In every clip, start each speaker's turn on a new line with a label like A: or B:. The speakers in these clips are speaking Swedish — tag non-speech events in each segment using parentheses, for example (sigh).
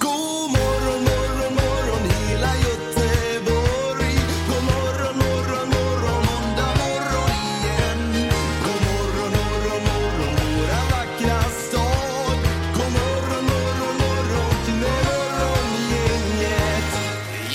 A: God morgon, morgon, morgon hela Göteborg. God morgon, morgon, morgon måndag morgon igen. God morgon, morgon, morgon våra vackra stad. God morgon, morgon, morgon till morgongänget.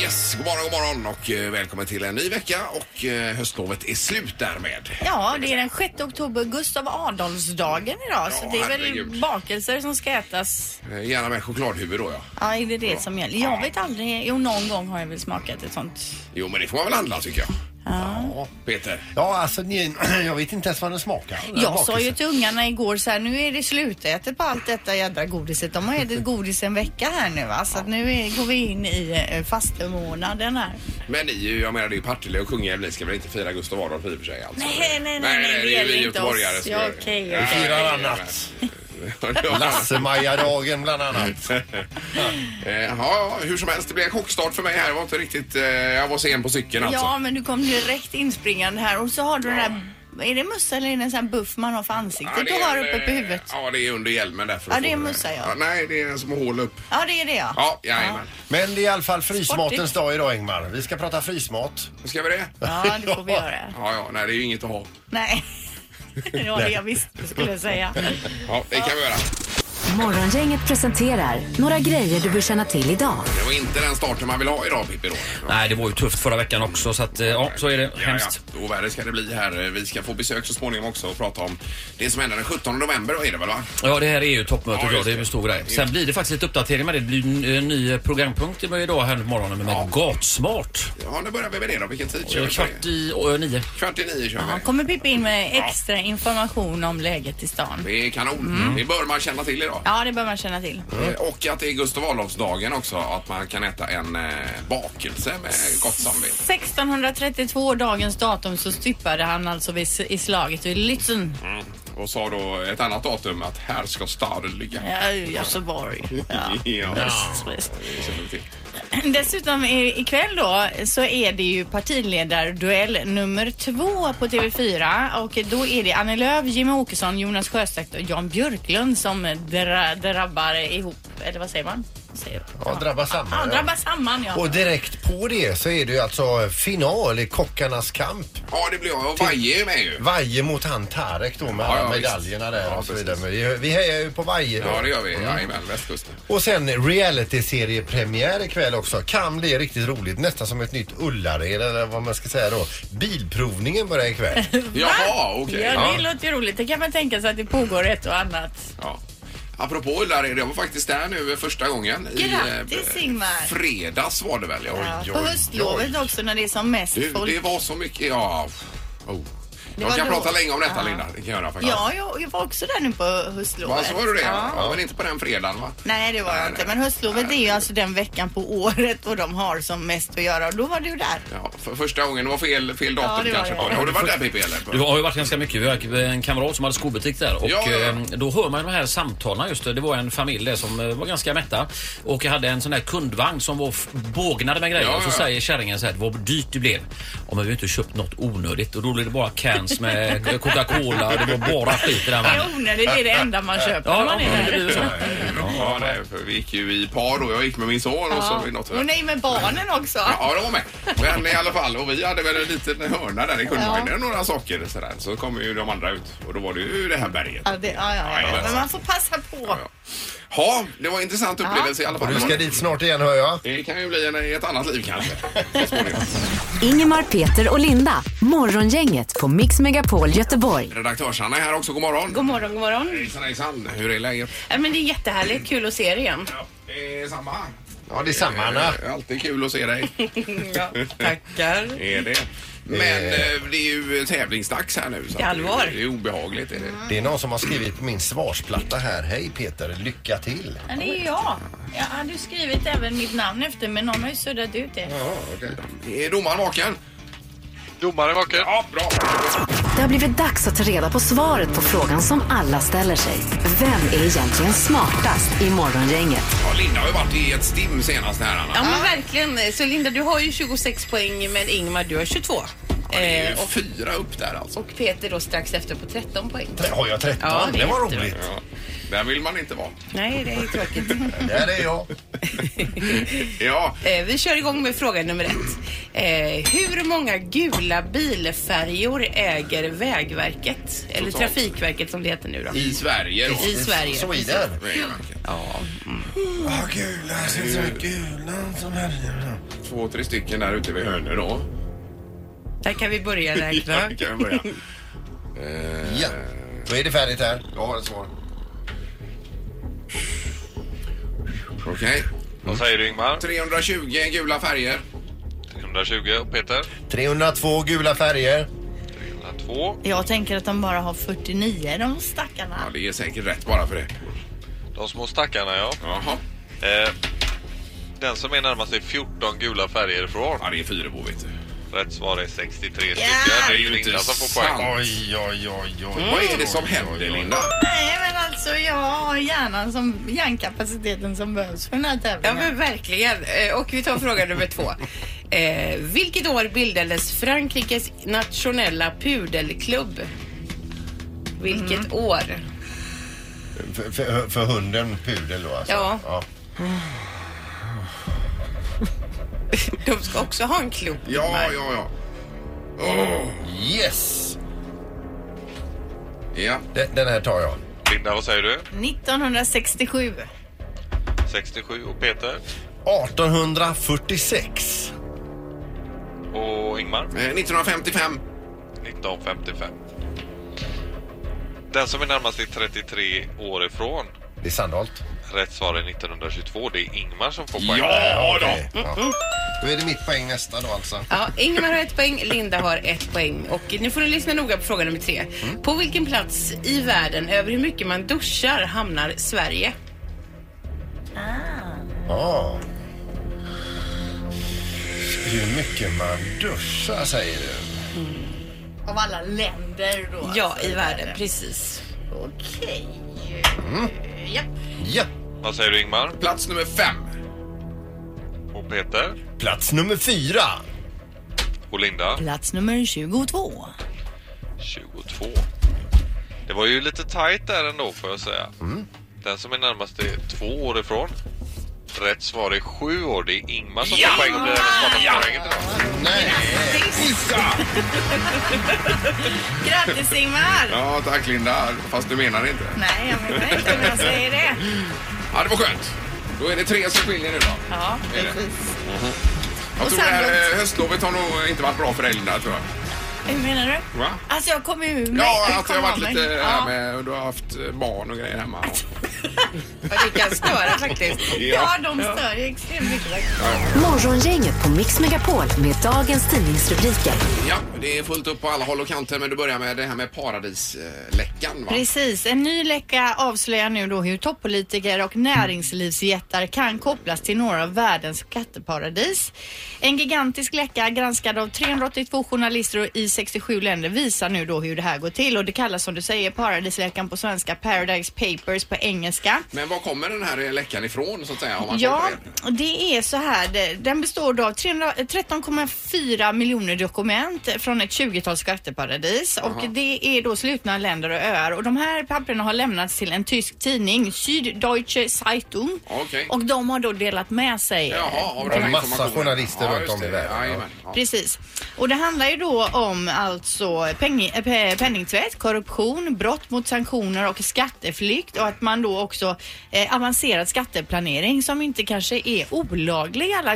B: Yes, god morgon, god morgon och eh, välkommen till en ny vecka och eh, höstlovet är slut därmed.
C: Ja, det är den 6 oktober, Gustav Adolfsdagen idag. så
B: Ja,
C: det är väl
B: herregud.
C: bakelser som ska ätas.
B: Eh, Gärna med chokladhuvud då ja.
C: Ja, är det det som gäller? Jag vet aldrig. Jo, någon gång har jag väl smakat ett sånt.
B: Jo men det får man väl handla tycker jag. Ja, Peter.
D: Ja, alltså ni, (clears throat) jag vet inte ens vad den smakar. Den
C: Jag sa ju
D: bakelsen.
C: till ungarna igår så här, nu är det slutätet på allt detta jädra godiset. De har ätit godis en vecka här nu va. Så att nu är, går vi in i eh, fastemånaden här.
B: Men ni, är ju- jag menar det är ju Partille och Kungälv, ni ska väl inte fira Gustav Adolf i och för sig? Alltså.
C: Nej, nej, nej, nej, det
B: är ju
C: gäller
B: vi
C: inte
B: göteborgare
C: oss.
B: som
C: Ja,
B: gör det.
C: okej,
B: Nej,
C: okej.
B: nej,
D: Firar
B: nej,
D: annat.
B: nej. (laughs) Ja,
D: Lasse-Maja-dagen
B: (laughs)
D: bland annat.
B: eh, ja, hur som helst, det blev en chockstart för mig här. Jag var inte riktigt, eh, jag var sen på cykeln alltså.
C: Ja, men du kom direkt inspringande här och så har du den här, är det mössa eller är det en sån här buff man har för ansiktet
B: det är
C: du har
B: en,
C: uppe på
B: eh,
C: huvudet?
B: Ja, det är under hjälmen där. för
C: Ja,
B: att
C: det
B: få
C: är mössa, ja.
B: Nej, det är små hål upp.
C: Ja, det är det ja.
B: Ja, jajamän.
D: Men det är i alla fall frysmatens
C: Sportigt.
D: dag idag Ingmar. Vi ska prata frysmat.
B: Nu ska vi det?
C: Ja, det
B: (laughs)
C: får vi göra.
B: Ja, ja, nej det är ju inget att ha.
C: Nej. Det var det jag visste skulle jag säga.
B: Ja, det kan vi göra.
E: Morgongänget presenterar några grejer du bör känna till idag.
B: Det var inte den starten man vill ha idag Pippi då.
F: Nej, det var ju tufft förra veckan också så att, eh, ja, så är det. Hemskt.
B: Ja, ja. Och värre ska det bli här. Vi ska få besök så småningom också och prata om det som händer den 17 november är det väl va?
F: Ja, det här är ju toppmötet
B: Ja,
F: ja,
B: just
F: det är
B: det.
F: en stor grej.
B: Just
F: Sen blir det faktiskt lite uppdatering med det. Det blir en eh, ny programpunkt idag här på morgonen med Gatsmart.
B: Ja, nu börjar vi med det då. Vilken tid kör vi på
F: Kvart
B: det?
F: i eh, nio.
B: Kvart i nio kör
C: Ja,
B: vi.
C: kommer Pippi in med extra information om läget i stan.
B: Det är kanon. Det bör man känna till idag.
C: Ja, det bör man känna till.
B: Eh, Och att det är Gustav Adolfsdagen också, att man kan äta en eh, bakelse med gott samvete.
C: 1632, dagens datum, så styppade han alltså vid, s- i slaget vid Lützen.
B: Mm. Och sa då ett annat datum att här ska staden ligga.
C: Ja, i Göteborg. Ja.
B: Ja.
C: Visst, visst.
B: det känner vi till.
C: (clears throat) Dessutom i- ikväll då så är det ju partiledarduell nummer två på TV4 och då är det Annie Lööf, Jimmie Åkesson, Jonas Sjöstedt och Jan Björklund som dra drabbar ihop, eller vad säger man? Säger-
D: Ja, drabbar
C: Ja,
D: samman.
C: drabbar samman ja.
D: Och direkt på det så är det ju alltså final i kockarnas kamp.
B: Ja, det blir jag. Och Vaje är med ju.
D: Vaje mot han Tarek då med
B: Ja, ja,
D: alla
B: visst.
D: medaljerna där
B: Ja,
D: och så
B: precis.
D: vidare. Men vi, vi hejar ju på Vaje då.
B: Ja, det gör vi. Jajamän, västkusten.
D: Och sen realityseriepremiär ikväll också. Kan bli riktigt roligt. Nästan som ett nytt Ullared eller vad man ska säga då. Bilprovningen börjar
C: (laughs)
D: ikväll.
B: Jaha, okej.
C: Ja, det
B: Ja.
C: låter ju roligt. Det kan man tänka sig att det pågår ett och annat.
B: Ja. Apropå Ullared, jag var faktiskt där nu första gången. i,
C: Grattis,
B: eh,
C: Ingmar.
B: Fredags var det väl? Ja.
C: Ja,
B: Oj,
C: på
B: oj,
C: höstlovet
B: oj.
C: också när det är som mest
B: Du,
C: folk.
B: det var så mycket. Ja. Oh. Jag
C: var
B: kan
C: då.
B: prata länge om detta
C: Ja.
B: Linda. Det kan jag göra faktiskt.
C: Ja, jag, jag var också där nu på höstlovet.
B: Vad sa du det? Ja.
C: Ja.
B: men inte på den fredagen va?
C: Nej, det var jag
B: Nej,
C: inte.
B: nej.
C: Men höstlovet är ju alltså den veckan på året och de har som mest att göra. Och då var du där.
B: Ja, för första gången. Det var fel, fel datum
C: Ja, det var
B: kanske.
C: det.
B: Har du varit där Pippi eller?
F: Det har ju varit ganska mycket. Vi har en kamrat som hade skobutik där och
B: Ja, ja, ja.
F: eh, då hör man de här samtalen just det. Det var en familj där som eh, var ganska mätta och hade en sån här kundvagn som var f- bågnad med grejer.
B: Ja,
F: och så
B: ja.
F: säger kärringen så här, vad dyrt det blev. Ja, men vi har inte köpt något onödigt och då blev det bara cans med Coca-Cola och det var bara skit i den
C: Det är
F: vagnen.
C: onödigt. Det är det enda man köper när
F: Ja,
C: man
F: ja,
C: är
F: det blir
C: där.
F: ju så.
B: Ja, nej, för vi gick ju i par då. Jag gick med min son och så var det något.
C: Och nej, med barnen också.
B: Ja, de var med. Men i alla fall, och vi hade väl en liten hörna där i kundvagnen, några saker sådär. Så kom ju de andra ut och då var det ju det här berget.
C: Ja, det, ja, ja, ja. Men man får passa på.
B: Ja. Ja, det var en intressant upplevelse i alla
D: Och
B: fall.
D: du ska dit snart igen hör jag.
B: Det kan ju bli en, ett annat liv kanske. så småningom.
E: Ingemar, Peter och Linda. Morgongänget på Mix Megapol Göteborg.
B: Redaktörs-Anna är här också, god morgon.
G: God morgon, god morgon.
B: Hejsan hejsan, hur är läget?
G: Ja, men det är jättehärligt, kul att se er
C: (laughs)
G: igen.
B: Ja, det är samma.
D: Ja, det är samma Anna.
B: Alltid kul att se (laughs) dig.
G: Tackar.
B: är det. Men eh, det är ju tävlingsdags här nu. Så att
G: Det är allvar.
B: Det är obehagligt. Är det.
D: Det är någon som har skrivit på min svarsplatta här. Hej Peter, lycka till.
C: Ja, det är jag. Jag hade ju skrivit även mitt namn efter, men någon har ju suddat ut det.
B: Är domaren vaken? Domaren vaken. Ja, bra.
E: Det har blivit dags att ta reda på svaret på frågan som alla ställer sig. Vem är egentligen smartast i Morgongänget?
B: Ja, Linda har ju varit i ett stim senast här Anna.
G: Ja, men verkligen. Så Linda, du har ju 26 poäng, men Ingmar, du har 22.
B: Det är ju
G: Eh, och,
B: fyra upp där alltså.
G: och Peter då strax efter på 13 poäng.
D: Där har jag 13.
G: Ja,
D: det,
G: det
D: var
G: är jättebra.
D: roligt.
B: Ja, där vill man inte vara.
G: Nej, det är tråkigt.
D: Där är jag.
B: Ja,
G: Eh, Vi kör igång med fråga nummer ett. Eh, hur många gula bilfärjor äger Vägverket? Eller
B: Totalt.
G: Trafikverket som det heter nu då.
B: i Sverige då.
G: I Sverige.
D: Sweden.
B: Vägverket.
H: Ah, gula, jag ser så här gula som här.
B: Två, tre stycken där ute vid Hönö då.
G: Där kan vi
B: (laughs)
G: börja
B: Ja,
G: räkna.
B: det kan jag börja. Eh,
D: Ja. Då är det färdigt här.
B: Jag har ett svar. Okej.
I: Vad säger du Ingmar?
B: 320 gula färger.
I: 320 och Peter?
D: 302 gula färger.
I: 302.
C: Jag tänker att de bara har 49 de stackarna.
B: Ja, det är säkert rätt bara för det.
I: De små stackarna ja.
B: Jaha.
I: Eh, den som är närmast är 14 gula färger ifrån.
B: Ja, det är Fyrebo vet du.
I: Rätt svar är 63 stycken.
B: Det
I: Det
B: är ju
I: är
B: inte
I: Linda som får poäng.
B: sant.
D: Oj, oj, oj, oj.
B: Vad är det som händer Linda?
C: Nej, men alltså jag har hjärnan som, hjärnkapaciteten som behövs för den här
G: Ja
C: tävlingen.
G: men verkligen. Eh, Och vi tar fråga nummer
C: (laughs)
G: två. Eh, vilket år bildades Frankrikes nationella pudelklubb? Vilket
C: Mm.
G: år?
D: För, för, för hunden pudel då alltså?
G: Ja. (laughs) De ska också ha en klubb.
B: Ja, ja, ja. Åh,
D: Yes!
B: ja.
D: Den, den här tar jag.
I: Linda, vad säger du?
C: 1967.
I: 67 och Peter?
D: 1846.
I: Och Ingmar?
B: Eh, 1955.
I: 1955. Den som är närmast är 33 år ifrån.
D: Det är Sandholt.
I: Rätt svar är 1922. Det är Ingmar som får poäng.
B: Ja då!
D: Okej, ja. Då är det mitt poäng nästa då alltså.
G: Ja, Ingemar har ett poäng, Linda har ett poäng. Och nu får ni lyssna noga på fråga nummer tre.
B: Mm.
G: På vilken plats i världen över hur mycket man duschar hamnar Sverige?
D: Ja. Ah. Hur mycket man duschar säger du?
C: Av alla länder då? alltså.
G: Ja, i världen, precis.
C: Okej. Japp.
D: Ja.
I: Vad säger du Ingmar?
B: Plats nummer fem.
I: Och Peter?
D: Plats nummer fyra.
I: Och Linda?
C: Plats nummer 22.
I: 22. Det var ju lite tajt där ändå får jag säga.
J: Mm.
I: Den som är närmast är två år ifrån. Rätt svar är sju år. Det är Ingmar som får poäng. Det är den smarta poängen idag.
D: Nej.
C: Grattis Ingmar!
B: Ja, tack Linda. Fast du menar det inte.
C: Nej, jag vet inte om jag säger det.
B: Ja, det var skönt. Då är det tre som skiljer nu då.
C: Ja,
B: Är det?
C: precis.
B: Jag
C: Och
B: tror det här
C: sannolikt-
B: eh, höstlovet har nog inte varit bra för dig Linda, tror jag.
C: Hur menar du?
B: Va?
C: Alltså jag kom ur mig.
B: Ja,
C: Jag
B: att jag
C: kom
B: har varit
C: av mig.
B: lite eh,
C: Ja.
B: här med, du har haft barn och grejer hemma.
G: Ja, Det kan störa faktiskt.
C: Ja, de stör ju extremt mycket.
E: Morgongänget på Mix Megapol med dagens tidningsrubriker.
B: Ja, det är fullt upp på alla håll och kanter men du börjar med det här med paradisläckan va?
C: Precis. En ny läcka avslöjar nu då hur toppolitiker och näringslivsjättar kan kopplas till några av världens skatteparadis. En gigantisk läcka granskad av 382 journalister i 67 länder visar nu då hur det här går till och det kallas som du säger paradisläckan på svenska, Paradise Papers på engelska.
B: Men var kommer den här eh, läckan ifrån så att säga? Om man
C: Ja,
B: kollar på det?
C: det är så här. det- Den består då av 300 13,4 miljoner dokument från ett 20-tal skatteparadis och det är då slutna länder och öar och de här papperna har lämnats till en tysk tidning, Süddeutsche Zeitung.
B: Okej.
C: Och de har då delat med sig
B: Jaha, av
D: Och
B: den här
D: massa
B: informationen.
D: journalister
B: ja,
D: runt
B: just
D: om i
B: det.
D: världen, ja.
B: Jajamän, ja.
C: Precis. Och det handlar ju då om alltså peng, eh, pe- penningtvätt, korruption, brott mot sanktioner och skatteflykt och att man då också eh, avancerad skatteplanering som inte kanske är olaglig alla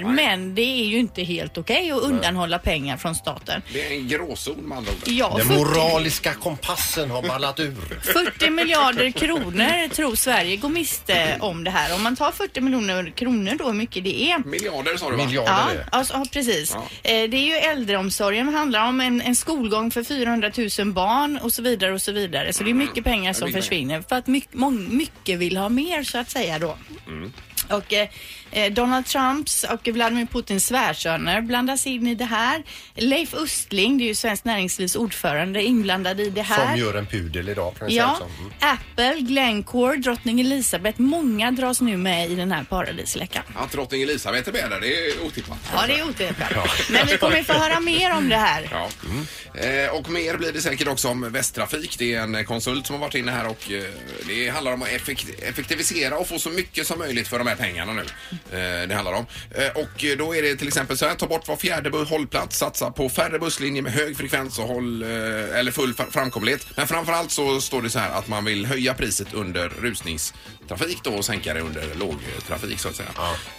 B: nej.
C: men det är ju inte helt okej att undanhålla pengar från staten.
B: Det är en gråzon med andra ord.
C: Ja,
D: Den
C: 40,
D: moraliska kompassen har ballat ur.
C: 40 miljarder kronor tror Sverige går miste om det här. Om man tar 40 miljoner kronor då, hur mycket det är.
B: Miljarder sa du va?
D: Miljarder
C: (laughs) ja,
D: det.
C: alltså, ja, precis. Eh, det är ju äldreomsorgen det handlar om, en, en skolgång för 400 000 barn och så vidare och så vidare. Så Mm. det är mycket pengar som
B: mycket pengar.
C: försvinner för att mycket, mång, mycket vill ha mer så att säga då. Och eh, eh, Donald Trumps och Vladimir Putins svärsöner blandas in i det här. Leif Östling, det är ju Svenskt Näringslivs ordförande, inblandad i det här.
D: Som gör en pudel idag kan vi säga.
C: Ja,
D: Som. Mm.
C: Apple, Glencore, drottning Elizabeth. Många dras nu med i den här paradisläckan.
B: Att drottning Elisabeth är med där, det är otippat.
C: Ja, det är otippat. Men vi kommer få höra mer om det här.
B: Ja. Eh, och mer blir det säkert också om Västtrafik. Det är en konsult som har varit inne här och eh, det handlar om att effek- effektivisera och få så mycket som möjligt för de här pengarna nu. Eh, det handlar om. Eh, och då är det till exempel så här, ta bort var fjärde bu- hållplats, satsa på färre busslinjer med hög frekvens och håll, eh, eller full fa- framkomlighet. Men framförallt så står det så här att man vill höja priset under rusningstrafik då och sänka det under lågtrafik så att säga.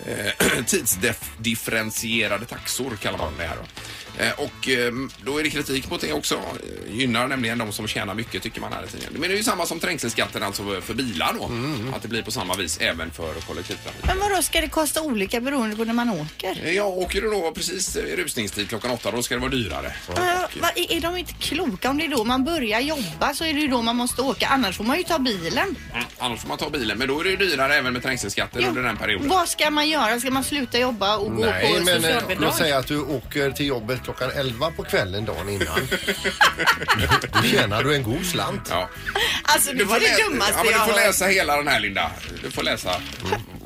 B: Eh, (clears throat) tidsdifferentierade taxor kallar man det här då. Eh, Och eh, då är det kritik mot det också. Eh, Gynnar nämligen de som tjänar mycket tycker man här i tiden. Men det är ju samma som trängselskatten alltså för bilar då. Att det blir på samma vis även för kollektivtrafik.
C: Men vadå, ska det kosta olika beroende på när man åker?
B: Eh, Ja, åker du då precis i rusningstid klockan åtta då ska det vara dyrare. eh,
C: Äh, va, är är de inte kloka? Om det är då man börjar jobba så är det ju då man måste åka. Annars får man ju ta bilen.
B: Mm, Annars får man ta bilen men då är det ju dyrare även med trängselskatten under den perioden.
C: Vad ska man göra? Ska man sluta jobba och gå
D: Nej,
C: på
D: men eh, låt
C: socialbidrag?
D: säga att du åker till jobbet klockan 11 på kvällen dagen
C: (laughs)
D: innan. Då tjänar du en god slant.
B: Ja.
C: Alltså, det var det
B: lä-
C: dummaste
B: ja, men
C: jag
B: du
C: har
B: får
C: hört.
B: läsa hela den här Linda. Du får läsa.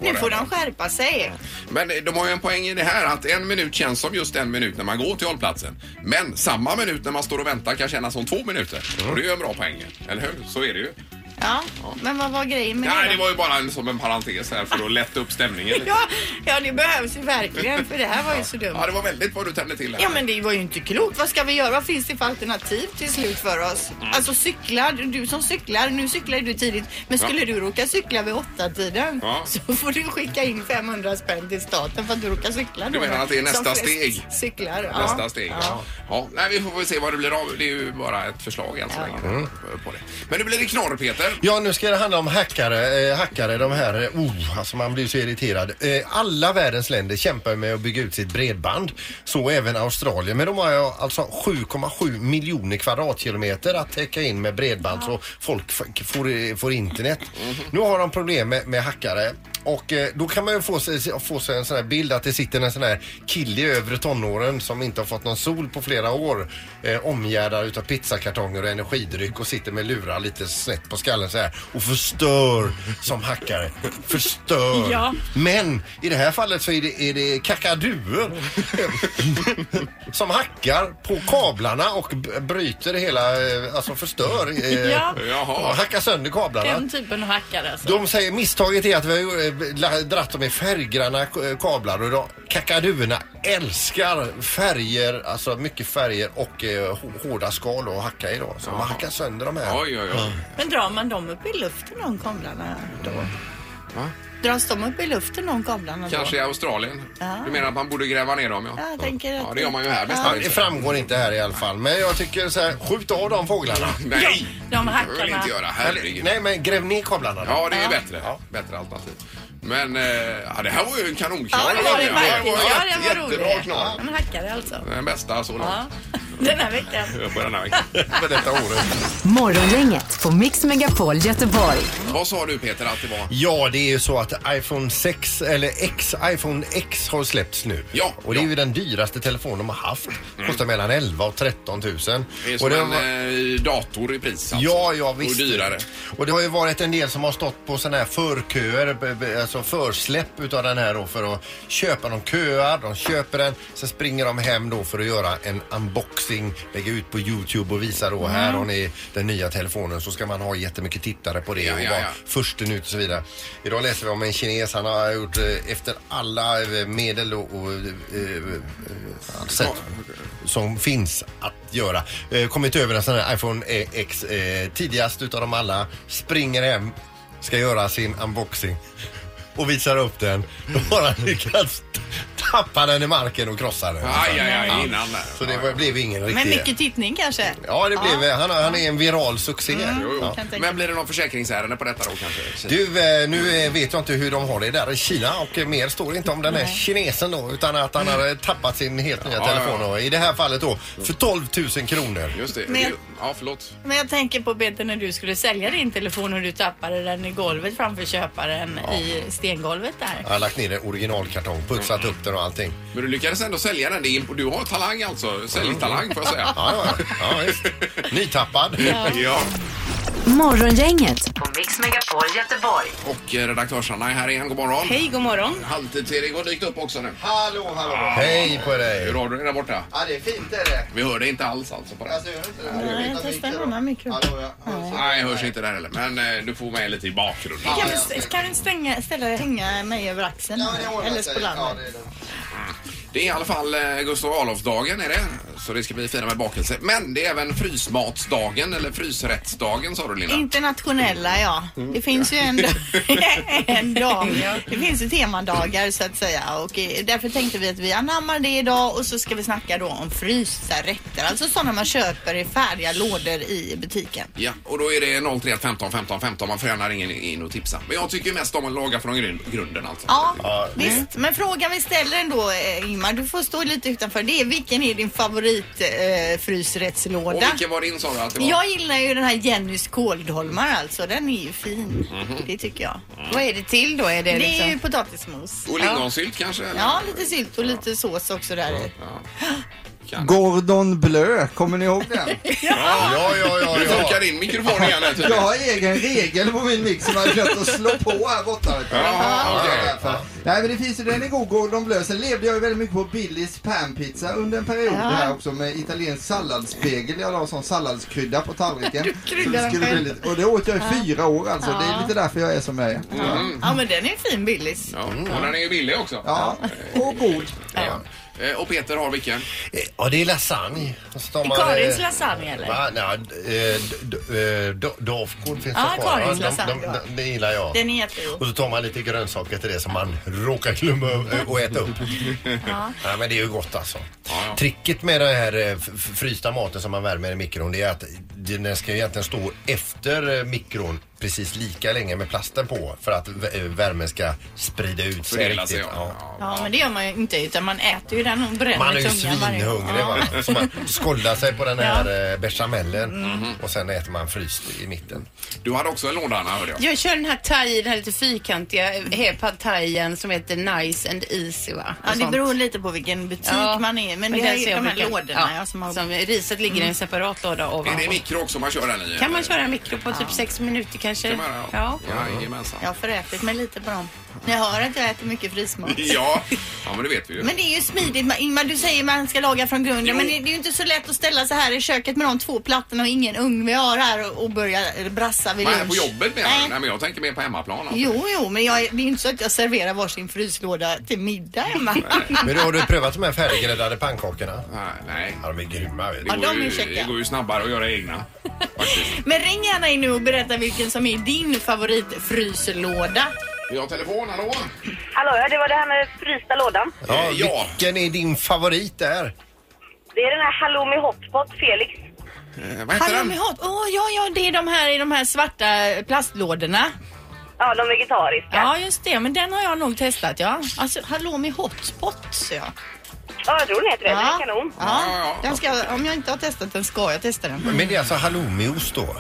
C: Nu får de skärpa sig.
B: Men eh, de har ju en poäng i det här att en minut känns som just en minut när man går till hållplatsen. Men samma minut när man står och väntar kan kännas som två minuter.
D: Mm.
B: Och det är ju en bra poäng, eller hur? Så är det ju.
C: Ja, men vad var grejen med
B: Nej,
C: det
B: det
C: då?
B: var ju bara en, som en parentes här för att lätta upp stämningen lite.
C: (laughs) Ja, ja, det behövs ju verkligen för det här var ju så dumt.
B: Ja, det var väldigt vad du tände till här.
C: Ja men det var ju inte klokt. Vad ska vi göra? Vad finns det för alternativ till slut för oss?
B: Mm.
C: Alltså cykla, du som cyklar, nu cyklar ju du tidigt. Men
B: Ja.
C: skulle du råka cykla vid åtta tiden
B: Ja.
C: så får du skicka in 500 spänn till staten för att du råkar cykla.
B: Du
C: då.
B: menar att det är nästa
C: Som flest
B: steg?
C: Cyklar, ja.
B: Nästa steg. Ja. Ja. Nej, vi får väl se vad det blir av. Det är ju bara ett förslag än så länge. På det. Men nu blir det knorr, Peter.
D: Ja, nu ska det handla om hackare. Eh, hackare, de här... eh, Oh, alltså man blir så irriterad. Eh, alla världens länder kämpar med att bygga ut sitt bredband. Så även Australien. Men de har ju alltså 7,7 miljoner kvadratkilometer att täcka in med bredband så folk f- får, eh, får internet. Nu har de problem med, med hackare. Och eh, då kan man ju få sig, få sig en sån här bild att det sitter en sån här kille i övre tonåren som inte har fått någon sol på flera år eh, omgärdad utav pizzakartonger och energidryck och sitter med lurar lite snett på skallen så här och förstör som hackare. Förstör.
C: Ja.
D: Men i det här fallet så är det, är det kakaduer (laughs) som hackar på kablarna och b- bryter hela, eh, alltså förstör. eh,
C: Ja.
B: Jaha.
D: och Hackar sönder kablarna.
C: Den typen av hackare alltså.
D: De säger misstaget är att vi har eh, la- dratt dem i färggranna eh, kablar och de, kakaduerna älskar färger, alltså mycket färger och eh, hå- hårda skal och hacka i då. Så man hackar sönder de här.
B: Oj, oj, oj.
C: Men drar man dem upp i luften de kablarna då?
B: Va?
C: Dras de upp i luften de kablarna då?
B: Kanske i Australien.
C: Ja.
B: Du menar att man borde gräva ner dem,
C: Ja,
B: ja.
C: jag tänker att...
B: Ja, det gör man ju här.
D: Ja,
B: nästan
D: det
B: inte.
D: framgår inte här i alla fall, men jag tycker så här, skjut av de fåglarna.
B: Nej,
C: De
B: det vill jag
C: hackarna.
B: inte göra.
D: Eller,
B: Herregud.
D: nej men gräv ner kablarna. då.
B: Ja, det är bättre. Bättre alternativ. Men eh, ja, det här var ju en kanonklar.
C: Ja, det var det verkligen. Ja,
B: jätte-
C: det var
B: Jättebra
C: roligt.
B: knorr.
C: De hackare alltså.
B: Den bästa så
C: Ja.
B: långt.
C: Den här veckan.
B: På den här veckan.
D: (laughs) För detta året.
E: Morgongänget på Mix Megapol Göteborg.
B: Vad sa du Peter att det var?
D: Ja, det är ju så att iPhone 6 eller X, iPhone X har släppts nu.
B: Ja,
D: och
B: ja.
D: det är
B: Mm.
D: ju den dyraste telefon de har haft. Kostar mellan 11 och 13 000.
B: Det är
D: och
B: som en eh, dator i pris alltså.
D: Ja, ja visst.
B: Och dyrare.
D: Och det har ju varit en del som har stått på sådana här förköer, b- b- alltså försläpp utav den här då för att köpa. De köar, de köper den, sen springer de hem då för att göra en unboxing, lägga ut på Youtube och visa då
B: Mm.
D: här har ni den nya telefonen så ska man ha jättemycket tittare på det
B: Ja,
D: och
B: ja,
D: vara
B: ja.
D: försten ut och så vidare. Idag läser vi om en kines, han har gjort eh, efter alla eh, medel och, och eh, eh, sätt som finns att göra. Eh, kommit över en sån här iPhone eh, X eh, tidigast utav dem alla. Springer hem, ska göra sin unboxing och visar upp den. Då har han lyckats t- tappade den i marken och krossade den.
B: Aj, aj, aj,
D: Ja.
B: innan där.
D: Så det var- blev ingen
C: Men
D: riktig...
C: mycket tittning kanske?
D: Ja, det blev, Han, han är en viral succé.
C: Mm.
B: Jo, jo.
D: Ja.
C: tänka
B: Men blir det någon försäkringsärende på detta då kanske?
D: Du, eh, nu eh, vet jag inte hur de har det där i Kina och eh, mer står det inte om den här kinesen då utan att han hade tappat sin helt nya
B: Ja,
D: telefon
B: ja, ja.
D: och i det här fallet då för 12 000 kronor.
B: Just det.
C: Men-
B: Ja, förlåt.
C: Men jag tänker på Peter när du skulle sälja din telefon och du tappade den i golvet framför köparen i stengolvet där.
D: Jag har lagt ner en originalkartong, putsat upp den och allting.
B: Men du lyckades ändå sälja den. Det är imp- Du har talang alltså. Säljtalang får jag säga.
D: Ja, ja, ja visst. Nytappad.
B: Ja.
E: Morgongänget
B: På Mix Megapol Göteborg. Och eh, redaktörs-Anna är här igen. God morgon.
G: Hej, god morgon.
B: Halvtids-Erik har dykt upp också nu.
J: Hallå, hallå.
D: Hej på dig.
B: Hur har du det där borta?
J: Ja, det är fint är det.
B: Vi hör dig inte alls alltså på det.
J: Alltså, jag hör inte det.
C: Nej, testa en annan mikro.
B: Nej, jag hörs inte där heller. Men eh, du får med lite i bakgrunden.
C: Kan du, kan du stänga, ställa, hänga mig över axeln? Eller på landet?
B: Det är i alla fall eh, Gustav Adolfsdagen är det. Så det ska bli fira med bakelse. Men det är även frysmatsdagen eller frysrättsdagen sa du Linda.
C: Internationella, ja. Det finns ju en, en dag. Det finns ju temadagar så att säga. Och eh, därför tänkte vi att vi anammar det idag och så ska vi snacka då om frysta rätter. Alltså sådana man köper i färdiga lådor i butiken.
B: Ja, och då är det 031 15 15 15. Man får gärna ringa in och tipsa. Men jag tycker mest om att laga från grund- grunden alltså.
C: Ja, visst. Men frågan vi ställer ändå, eh, Ingmar, du får stå lite utanför. Det är vilken är din favorit eh, frysrättslåda?
B: Och vilken var din sa du att det var?
C: Jag gillar ju den här Jennys kåldolmar alltså. Den är ju fin.
D: Mhm.
C: Det tycker jag.
D: Mm.
G: Vad är det till då? Är det,
C: Det
G: liksom...
C: är ju potatismos.
B: Och lingonsylt kanske? eller?
C: Ja, lite sylt och lite sås också där i.
D: Mm.
J: Gordon Blö, kommer ni ihåg den?
D: Ja, ja, ja.
B: Nu funkar din mikrofon igen här
J: Jag
B: tydligen.
J: har egen regel på min mix som jag har glömt att slå på här borta. Vet du.
B: Jaha, okej.
J: Ja, därför. Nej men det finns ju, den är god, Gordon Blö. Sen levde jag ju väldigt mycket på Billys panpizza under en period här också med italiensk salladsspegel. Jag la som salladskrydda på tallriken.
C: Du kryddar
J: Så det
C: den
J: skulle bli
C: själv.
J: lite- Och det åt jag i fyra år alltså. Det
C: Ja.
J: är lite därför jag är som jag är.
C: Ja, men den är fin Billys.
B: Ja, och den är ju billig också.
J: Ja, och god.
B: Ja. Eh, Och Peter har vilken?
D: Eh, Ja, det är lasagne. Och så tar
C: I
D: man,
C: Karins
D: eh,
C: lasagne eller?
D: Va? Nej, eh, d- d- eh, do- Dovgård finns
C: Ja,
D: det kvar.
C: Ah, Karins
D: de, de,
C: lasagne, ja.
D: de, det gillar jag.
C: Den är jättegod.
D: Och så tar man lite grönsaker till det som man råkar glömma ö- och äta upp. ja. men det är ju gott alltså. Tricket med den här eh, f- f- frysta maten som man värmer i mikron det är att den ska ju egentligen stå efter eh, mikron precis lika länge med plasten på för att v- eh, värmen ska sprida ut sig
B: Fördela sig,
D: riktigt.
B: ja.
C: Ja, men det gör man ju inte utan man äter ju den och bränner
D: Man är ju
C: tungan varje gång.
D: svinhungrig
C: Ja.
D: va. Så man skåldar sig på den här ja. bechamelen
B: Mm-hmm.
D: och sen äter man fryst i mitten.
B: Du hade också en låda Anna hörde jag.
G: Jag kör den här thai, den här lite fyrkantiga eh, pad thaien som heter Nice and Easy va?
C: Ja,
G: Och
C: det
G: sånt.
C: beror lite på vilken butik
G: Ja,
C: man är Men,
G: men
C: det är
G: den
C: ju
G: ser jag
C: de här
G: brukar-
C: lådorna
G: ja,
C: ja, som har...
G: Som riset ligger i en separat låda
B: Är det
G: ovanpå.
B: mikro också man kör den i?
G: Kan man köra en mikro på typ sex minuter kanske?
B: Kan man göra, ja.
G: ja.
B: Jajamensan.
C: Jag har förätit mig lite på dem. Ni hör att jag äter mycket frysmat.
B: (laughs) Ja. ja, men det vet vi ju.
C: Men det är ju smidigt. Man- Ingmar, du säger man ska laga från grunden.
B: Jo.
C: Men det, det är ju inte så lätt att ställa sig här i köket med de två plattorna och ingen ugn vi har här och, och börja eh, brassa vid
B: Man
C: lunch.
B: är på jobbet menar du?
C: Nej.
B: Nej, men jag tänker mer på hemmaplan. alltså.
C: Jo, jo, men jag, det är ju inte så att jag serverar varsin fryslåda till middag hemma.
D: Men då har du prövat de här färdiggräddade pannkakorna?
B: Nej, nej.
D: Ja, de är grymma.
B: Det
D: Vet du.
C: Ja,
B: går,
C: de
B: ju,
C: är käcka.
B: det går ju snabbare att göra egna. Faktiskt.
C: (laughs) Men ring gärna in nu och berätta vilken som är din favoritfryslåda.
B: Vi har telefon, hallå?
K: Hallå, ja, det var det här med frysta lådan.
D: Ja,
B: Eh, ja.
D: vilken är din favorit där?
K: Det är den här halloumi hotpot, Felix.
B: Eh, vad heter
C: Halloumi
B: den?
C: hot. Åh, ja, ja, det är de här i de här svarta plastlådorna.
K: Ja, de vegetariska.
C: Ja, just det. Men den har jag nog testat, ja. Alltså, halloumi hotspot, så jag.
K: Ja, jag tror den heter det. Den är kanon.
C: Ja,
B: Ja, ja.
C: Den ska, om jag inte har testat den ska jag testa den.
K: Mm.
D: Men det är alltså halloumiost då?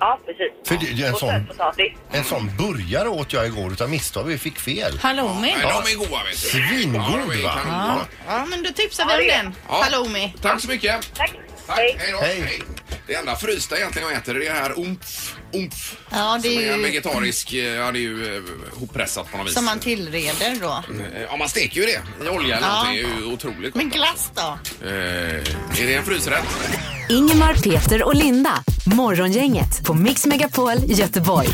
K: Ja, precis.
D: För det- det är en
K: Och
D: sån-
K: sötpotatis.
D: En sån burgare åt jag igår utav misstag. Vi fick fel.
C: Halloumi.
B: Nej, de är goda vet du.
D: Svingod,
B: Ja, de är
D: va?
B: kanongoda.
C: Ja, men då tipsar vi om
K: Ja, det är-
C: den.
B: Ja.
C: Halloumi.
B: Tack så mycket.
K: Tack.
B: Tack.
K: Hej.
B: Hej då.
D: Hej.
B: Hej. Det enda frysta egentligen jag äter det är det här umf, umf.
C: Ja, det
B: som
C: är
B: en
C: ju
B: vegetarisk, eh, ja det är ju eh, hoppressat på något vis.
C: som man tillreder då.
B: Eh, Ja, man steker ju det i olja eller
C: Ja.
B: någonting. Det är ju otroligt gott.
C: Men glass då?
B: Eh, är det en frysrätt?
E: Ingemar, Peter och Linda Morgongänget på Mix Megapol Göteborg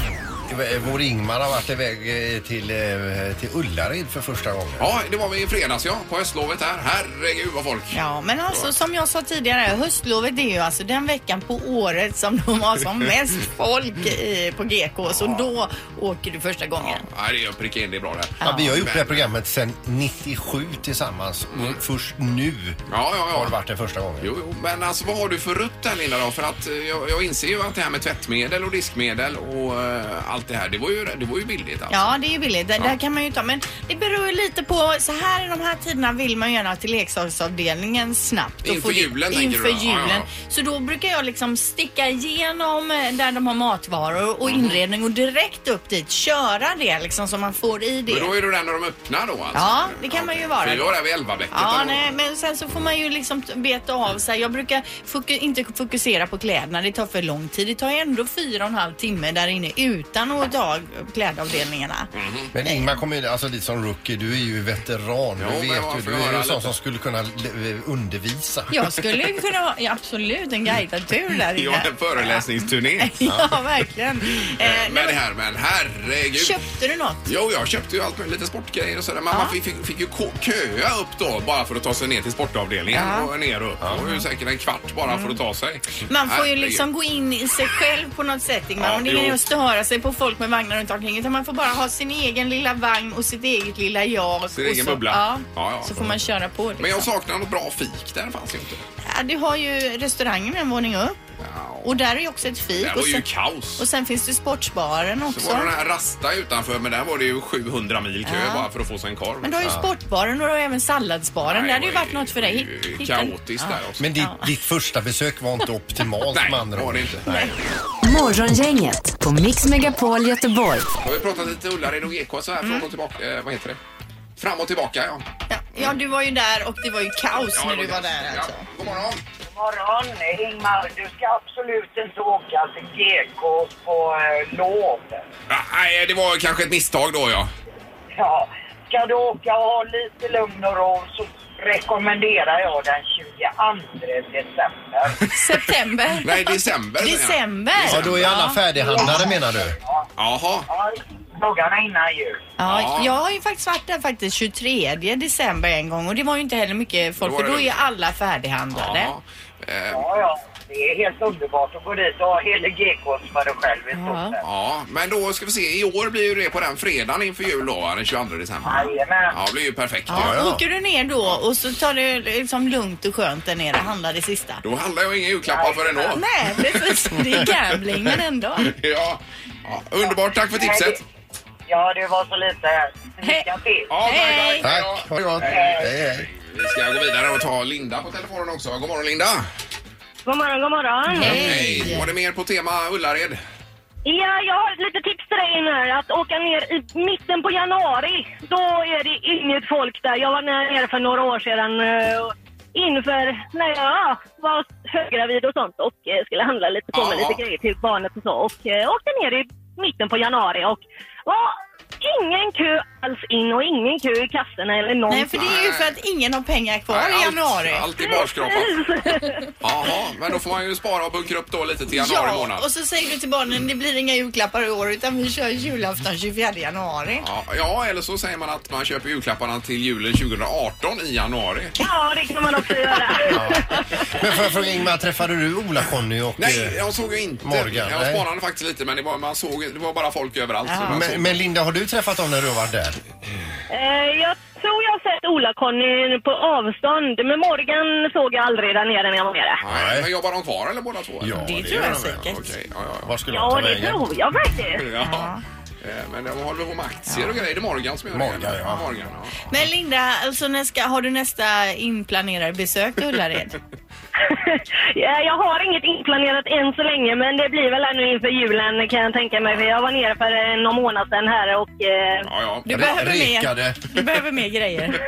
D: eh, vår Ingmar har varit iväg eh, till, eh, till Ullared för första gången.
B: Ja, det var vi i fredags ja, på höstlovet här. Herregud vad folk.
C: Ja, men alltså som jag sa tidigare, höstlovet det är ju alltså den veckan på året som de
K: (laughs)
C: har som mest folk i, på GK. Så då åker du första gången.
B: Nej, det är att pricka in, det är bra det här.
D: Ja, vi har gjort det här
B: Men- Mm.
D: programmet sedan 97 tillsammans och först nu har det varit den första gången.
B: Jo, jo, men alltså vad har du för rutt där Linda då? För att eh, jag, jag inser ju att det här med tvättmedel och diskmedel och eh, allt det här, det var ju, det var ju billigt alltså.
C: Ja, det är ju billigt. Det där kan man ju ta. Men det beror ju lite på. Så här i de här tiderna vill man gärna till leksaksavdelningen snabbt. och
B: Inför
C: få det-
B: julen, tänker
C: Inför
B: du då? Ja,
C: julen.
B: ja, ja.
C: Så då brukar jag liksom sticka igenom eh, där de har matvaror och
B: Mm.
C: inredning och direkt upp dit. Köra det liksom så man får i det.
B: Men då är du där när de öppnar då alltså?
C: Ja, det kan man ju vara.
B: För jag är där vid elvabäcket.
C: Ja,
B: eller vad?
C: nej, men sen så får man ju liksom t- beta av sig. Jag brukar foku- inte fokusera på kläderna. Det tar för lång tid. Det tar ju ändå fyra och en halv timme där inne utan att ta klädavdelningarna.
D: Men Ingmar kommer ju, alltså lite som rookie, du är ju veteran.
B: Jo,
D: du
B: men
D: vet
B: man
D: ju,
B: får
D: du är
B: höra
D: ju sån
B: lite.
D: som skulle kunna le- eh, undervisa.
C: Jag skulle ju kunna ha ja, absolut en guidad tur där
B: Ja,
C: inne.
B: en
C: Eh,
B: föreläsningsturné.
C: (laughs) Ja, verkligen. Eh,
B: Men det här, men herregud.
C: köpte du något?
B: Jo, jag köpte ju allt med lite sportgrejer och sådär. Men man fick, fick, fick ju ko- köa upp då bara för att ta sig ner till sportavdelningen
C: Ja. Mm.
B: och ner och upp. Det var ju säkert en kvart bara för att ta sig.
C: Man får ju
B: Herregud.
C: liksom gå in i sig själv på något sätt. Ingmar.
B: Ja,
C: och det är ingen
B: jo.
C: just att höra sig på folk med vagnar runt omkring. Utan man får bara ha sin egen lilla vagn och sitt eget lilla jag.
B: Sin
C: och
B: egen
C: så,
B: bubbla.
C: Ja,
B: Ja, ja.
C: Så får man köra på. Liksom.
B: Men jag saknar något bra fik. Där fanns ju inte.
C: Ja, du har ju restaurangen en våning upp. Och där är ju också ett fik.
B: Där var
C: och,
B: ju
C: sen,
B: kaos.
C: och sen finns det sportsbaren också.
B: Så var det den här Rasta utanför, men där var det ju 700 mil kö
C: Ja.
B: bara för att få sig en korv.
C: Men du har ju
B: Ja.
C: sportbaren och du har även salladsbaren.
B: Nej,
C: det hade ju
B: det var
C: varit något för dig.
B: ju
C: Hitta-
B: kaotiskt där också.
D: Men ditt, ditt första besök var inte optimalt med andra ord. Nej.
E: Morgongänget på Mix Megapol Göteborg.
B: Har vi pratat lite Ullared och Eko så här
C: Mm.
B: fram och tillbaka? Eh, vad heter det? Fram och tillbaka, ja.
C: Ja, du var ju där och det var ju kaos
B: Ja,
C: när
B: det var
C: du var
B: kaos.
C: där
B: Ja.
C: alltså.
B: God morgon.
L: morgon, Ingmar. Du ska absolut inte åka till GK på eh, lov.
B: Ah, Nej, det var kanske ett misstag då, ja.
L: Ja, ska du åka och ha lite lugn och ro så rekommenderar jag den 22 december.
C: September?
B: (laughs) Nej, december. menar jag.
C: December?
D: Ja, då är alla färdighandlade menar du?
B: Jaha.
L: Ja, dagarna innan jul.
C: Ja, jag har ju faktiskt varit där faktiskt 23 december en gång och det var ju inte heller mycket folk
L: Då
C: för
L: var det
C: då är
L: lugnt.
C: alla färdighandlade.
L: Ja.
B: Eh,
L: Ja, ja. Det är helt underbart att gå dit och ha hela GKs för dig själv i stort sett.
B: Ja, men då ska vi se. I år blir ju det på den fredagen inför jul då, va? den 22 december.
L: Jajamän.
B: Ja, det blir ju perfekt.
C: Ja, Åker du ner då och så tar du liksom lugnt och skönt där nere, handlar det sista?
B: Då handlar jag inga julklappar förrän då.
C: Nej, precis. Det är gambling, men ändå.
B: Ja. ja, underbart. Tack för tipset.
L: Ja, det var så lite. Lycka till.
C: Hej!
D: Tack. Ha det gott. Hej, hej.
B: Vi ska gå vidare och ta Linda på telefonen också. God morgon Linda!
M: God morgon, god morgon.
B: Hej! Var det mer på tema Ullared?
M: Ja, jag har ett litet tips till dig nu. Att åka ner i mitten på januari. Då är det inget folk där. Jag var nere för några år sedan eh, och inför när jag var höggravid och sånt och eh, skulle handla lite på mig lite grejer till barnet och så. Och eh, åkte ner i mitten på januari och var ingen kö alls in och ingen kö i kassorna eller någonting.
C: Nej, för det är ju för att ingen har pengar kvar
B: Nej,
C: i
B: allt-
C: januari.
B: allt är barskrapa. Jaha, men då får man ju spara och bunkra upp då lite till januari
C: Ja,
B: månad.
C: och så säger du till barnen det blir inga julklappar i år utan vi kör julafton 24 januari.
B: Ja, ja, eller så säger man att man köper julklapparna till julen 2018 i januari.
M: Ja, det kan man också göra.
D: Men får jag fråga Ingmar, träffade du Ola-Conny och
B: Nej,
D: eh,
B: jag såg ju inte.
D: Morgan?
B: jag
D: nej.
B: spanade faktiskt lite men det var, man såg, det var bara folk överallt. så man såg.
D: Men, men Linda, har du träffat dem när du har varit där?
M: Eh, jag tror jag har sett Ola-Conny på avstånd, men Morgan såg jag aldrig där nere när jag var nere.
B: Nej. Men jobbar de kvar eller båda två? Ja,
M: det tror jag säkert.
B: Okej, ja, ja, ja.
D: Var skulle
M: Ja, det tror jag faktiskt.
B: Ja. Eh, Men de håller på med aktier och grejer. Det är Morgan som gör det. Morgan, ja. Morgan, ja.
C: Men Linda, alltså när ska, har du nästa inplanerade besök till
B: (laughs)
C: Ullared?
M: Ja, Eh, Jag har inget inplanerat än så länge, men det blir väl ännu inför julen kan jag tänka mig. För jag var nere för eh, någon månad sedan här och eh,
C: Du behöver
D: Rekade.
C: mer. Du behöver mer
B: (laughs)
C: grejer.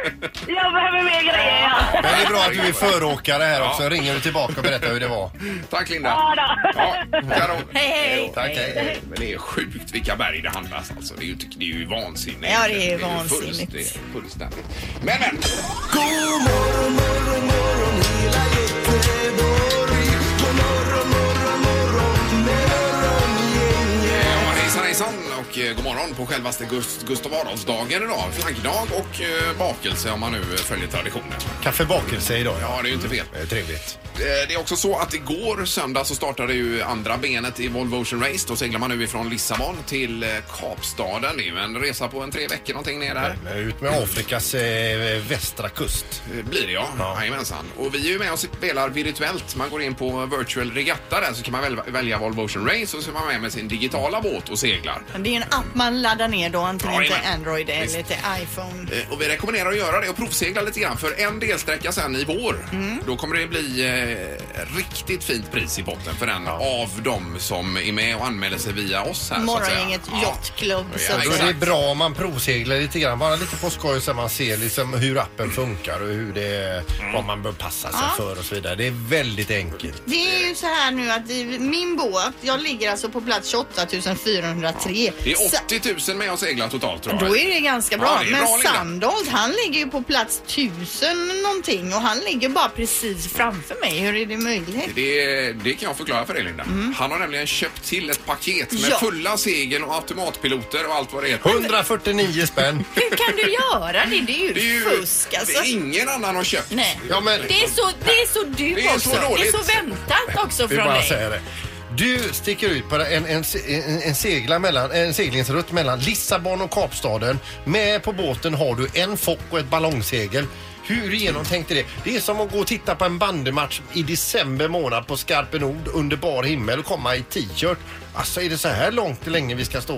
M: jag behöver mer grejer. Ja.
D: Men det är bra att du är föråkare här också. Ringer du tillbaka och berättar hur det var.
B: Tack Linda.
M: Ja, då.
C: Hej, hej!
D: Tack, hej.
B: Men det är sjukt vilka berg det handlas alltså. Det är ju, inte- det är ju vansinnigt.
C: Ja, det är
B: ju fullst-
C: vansinnigt.
B: det är Fullständigt. Men, men. Eh,
A: God morgon, morgon, morgon hela Göteborg. God morgon, morgon, morgon, morgon
B: Ja, hejsan hejsan och eh, god morgon på självaste Gust- Gustav Adolfsdagen idag. Flaggdag och eh, bakelse om man nu eh, följer traditionen.
D: Kaffebakelse idag.
B: Ja, det är ju inte fel.
D: Trevligt.
B: Eh, Det är också så att igår söndag så startade ju andra benet i Volvo Ocean Race. Då seglar man nu ifrån Lissabon till eh, Kapstaden. Det är ju en resa på en tre veckor någonting ner där.
D: Ut med Afrikas eh, västra kust.
B: Eh, Blir det ja. Jajamensan. Och vi är ju med och spelar virtuellt. Man går in på Virtual Regatta där så kan man väl, välja Volvo Ocean Race och så är man med med sin digitala båt och seglar.
C: Men Det är ju en app man laddar ner då, antingen till
B: Jajamän.
C: Android
B: Visst.
C: eller till iPhone.
B: Eh, Och vi rekommenderar att göra det och provsegla lite grann för en delsträcka sen i vår.
C: Mm.
B: Då kommer det bli eh, riktigt fint pris i botten för den av dem som är med och anmäler sig via oss här. så att säga.
C: Morgongänget Yachtklubb.
B: Ja,
C: så att
D: Då är det
C: säga.
D: bra om man provseglar lite grann, bara lite på skoj så man ser liksom hur appen funkar och hur det, vad man bör passa sig
C: Ja.
D: för och så vidare. Det är väldigt enkelt.
C: Det är ju så här nu att i min båt, jag ligger alltså på plats 28 403.
B: Det är
C: Så-
B: 80 000 med och seglar totalt tror jag.
C: Då är det ganska bra.
B: Ja, det är
C: Men
B: bra, Linda.
C: Sandholt han ligger ju på plats 1000 någonting och han ligger bara precis framför mig. Hur är det möjligt?
B: Det, det kan jag förklara för dig Linda. Han har nämligen köpt till ett paket med
C: Mm. Ja.
B: fulla segel och automatpiloter och allt vad det heter.
D: 149 spänn.
C: Hur kan du göra det? Det är ju,
B: Det är ju-
C: fusk alltså.
B: det är ingen annan har köpt.
C: Nej.
D: Ja, men-
C: Det är så, det är så du
D: Det är så
C: också.
D: dåligt.
C: Det är så väntat också
D: Vi
C: från
D: bara
C: dig.
D: säger det. Du sticker ut på en, en, en, en, segla mellan, en seglingsrutt mellan Lissabon och Kapstaden. Med på båten har du en fock och ett ballongsegel. Hur genomtänkt är det? Det är som att gå och titta på en bandymatch i december månad på Skarpenord under bar himmel och komma i t-shirt. Alltså är det så här långt länge vi ska stå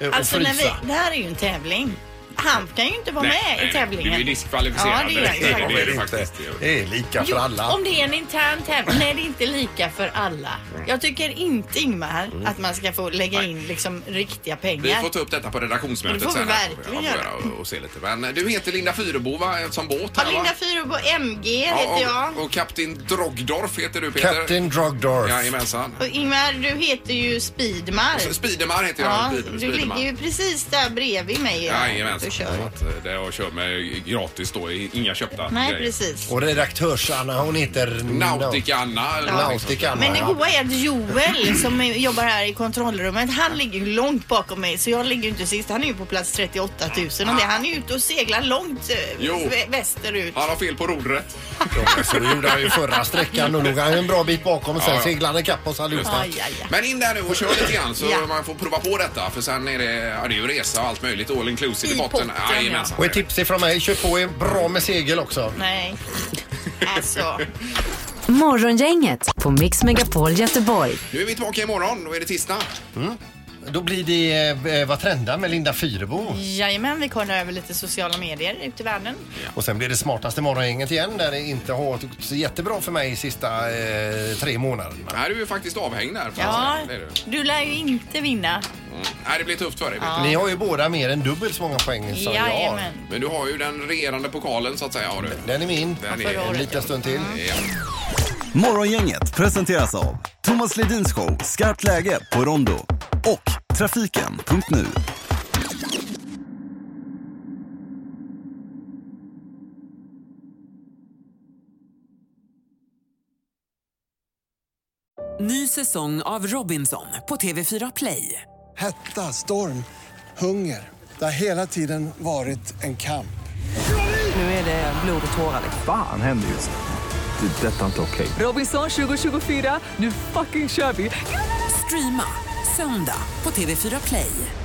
D: eh, och
C: Alltså,
D: frysa?
C: när vi, det här är ju en tävling. Han kan ju inte vara
D: Nej,
C: med
D: nej,
C: i tävlingen.
D: du är diskvalificerad.
C: Ja, det är jag ju
D: Nej,
C: faktiskt.
D: det är det faktiskt. Det är lika för
C: Jo,
D: alla.
C: Om det är en intern tävling. Nej, det är inte lika för alla. Jag tycker inte, Ingmar, att man ska få lägga in liksom riktiga
B: Vi
C: pengar.
B: får ta upp detta på redaktionsmötet
C: Det får vi
B: sen. här.
C: verkligen
B: Ja, får göra och, och se lite. Men eh, du heter Linda Fyrebo va? som båt
C: Ja,
B: här va?
C: Linda Fyrebo MG heter
B: Ja,
C: jag.
B: och, och kapten Drogdorf heter du Peter.
D: Captain Drogdorf.
B: Jajamensan.
C: Och Ingmar, du heter ju Speedmar.
B: Speedemar heter jag.
C: Ja,
B: Speedemar.
C: du ligger ju precis där bredvid mig.
B: Jajamensan.
C: Du kör.
B: Så att, eh, Det jag kör med gratis då, i- inga köpta
C: Nej,
B: grejer.
C: precis.
D: Och redaktörs-Anna hon heter...
B: Nautica-Anna. eller någonting sånt.
D: Nautica-Anna.
C: Men det
D: ja.
C: goa är att Joel som är- jobbar här i kontrollrummet, han ligger ju långt bakom mig så jag ligger ju inte sist. Han är ju på plats 38 000 och det, han är ju ute och seglar långt eh,
B: Jo.
C: vä- västerut.
B: Han har fel på rodret.
D: Så det gjorde han ju förra sträckan. Då låg han en bra bit bakom och sen
B: Ja, ja.
D: seglade han ikapp oss allihopa.
C: Aj, aj, aj.
B: Men in där nu och kör lite grann så
C: Ja.
B: man får prova på detta för sen är det, ja, det är ju resa och allt möjligt all inclusive i
C: I
B: botten.
C: botten, ja.
B: Jajamensan.
D: Och ett tips ifrån mig, kör på en bra med segel också.
C: Nej, alltså.
E: Morgongänget på Mix Megapol Göteborg.
B: Nu är vi tillbaka imorgon, då är det tisdag.
D: Då blir det eh, Vad trendar med Linda Fyrebo.
C: Jajamän, vi kollar över lite sociala medier ute i världen.
D: Och sen blir det smartaste morgongänget igen där det inte har gått så jättebra för mig sista eh, tre månaderna.
B: Nej, du är ju faktiskt avhängd där. får jag
C: Ja,
B: säga. Det är du.
C: du lär ju inte vinna.
B: Mm. Nej, det blir tufft för dig.
C: Ja.
D: Ni har ju båda mer än dubbelt så många
C: 嗯
D: poäng som jag har.
C: Jajamän.
B: Men du har ju den regerande pokalen så att säga. Har du.
D: Den är min.
B: Den
D: Förra
B: är
D: året, En liten stund till.
C: Mm.
B: Ja.
N: Morgongänget presenteras av Thomas Ledins show Skarpt läge på Rondo och Trafiken.nu.
O: Ny säsong av Robinson på TV4 Play.
H: Hetta, storm, hunger. Det har hela tiden varit en kamp.
O: Nu är det blod och tårar.
P: Fan händer just det. Det är detta inte okej.
O: Robinson 2024, nu fucking kör vi! Streama söndag på TV4 Play.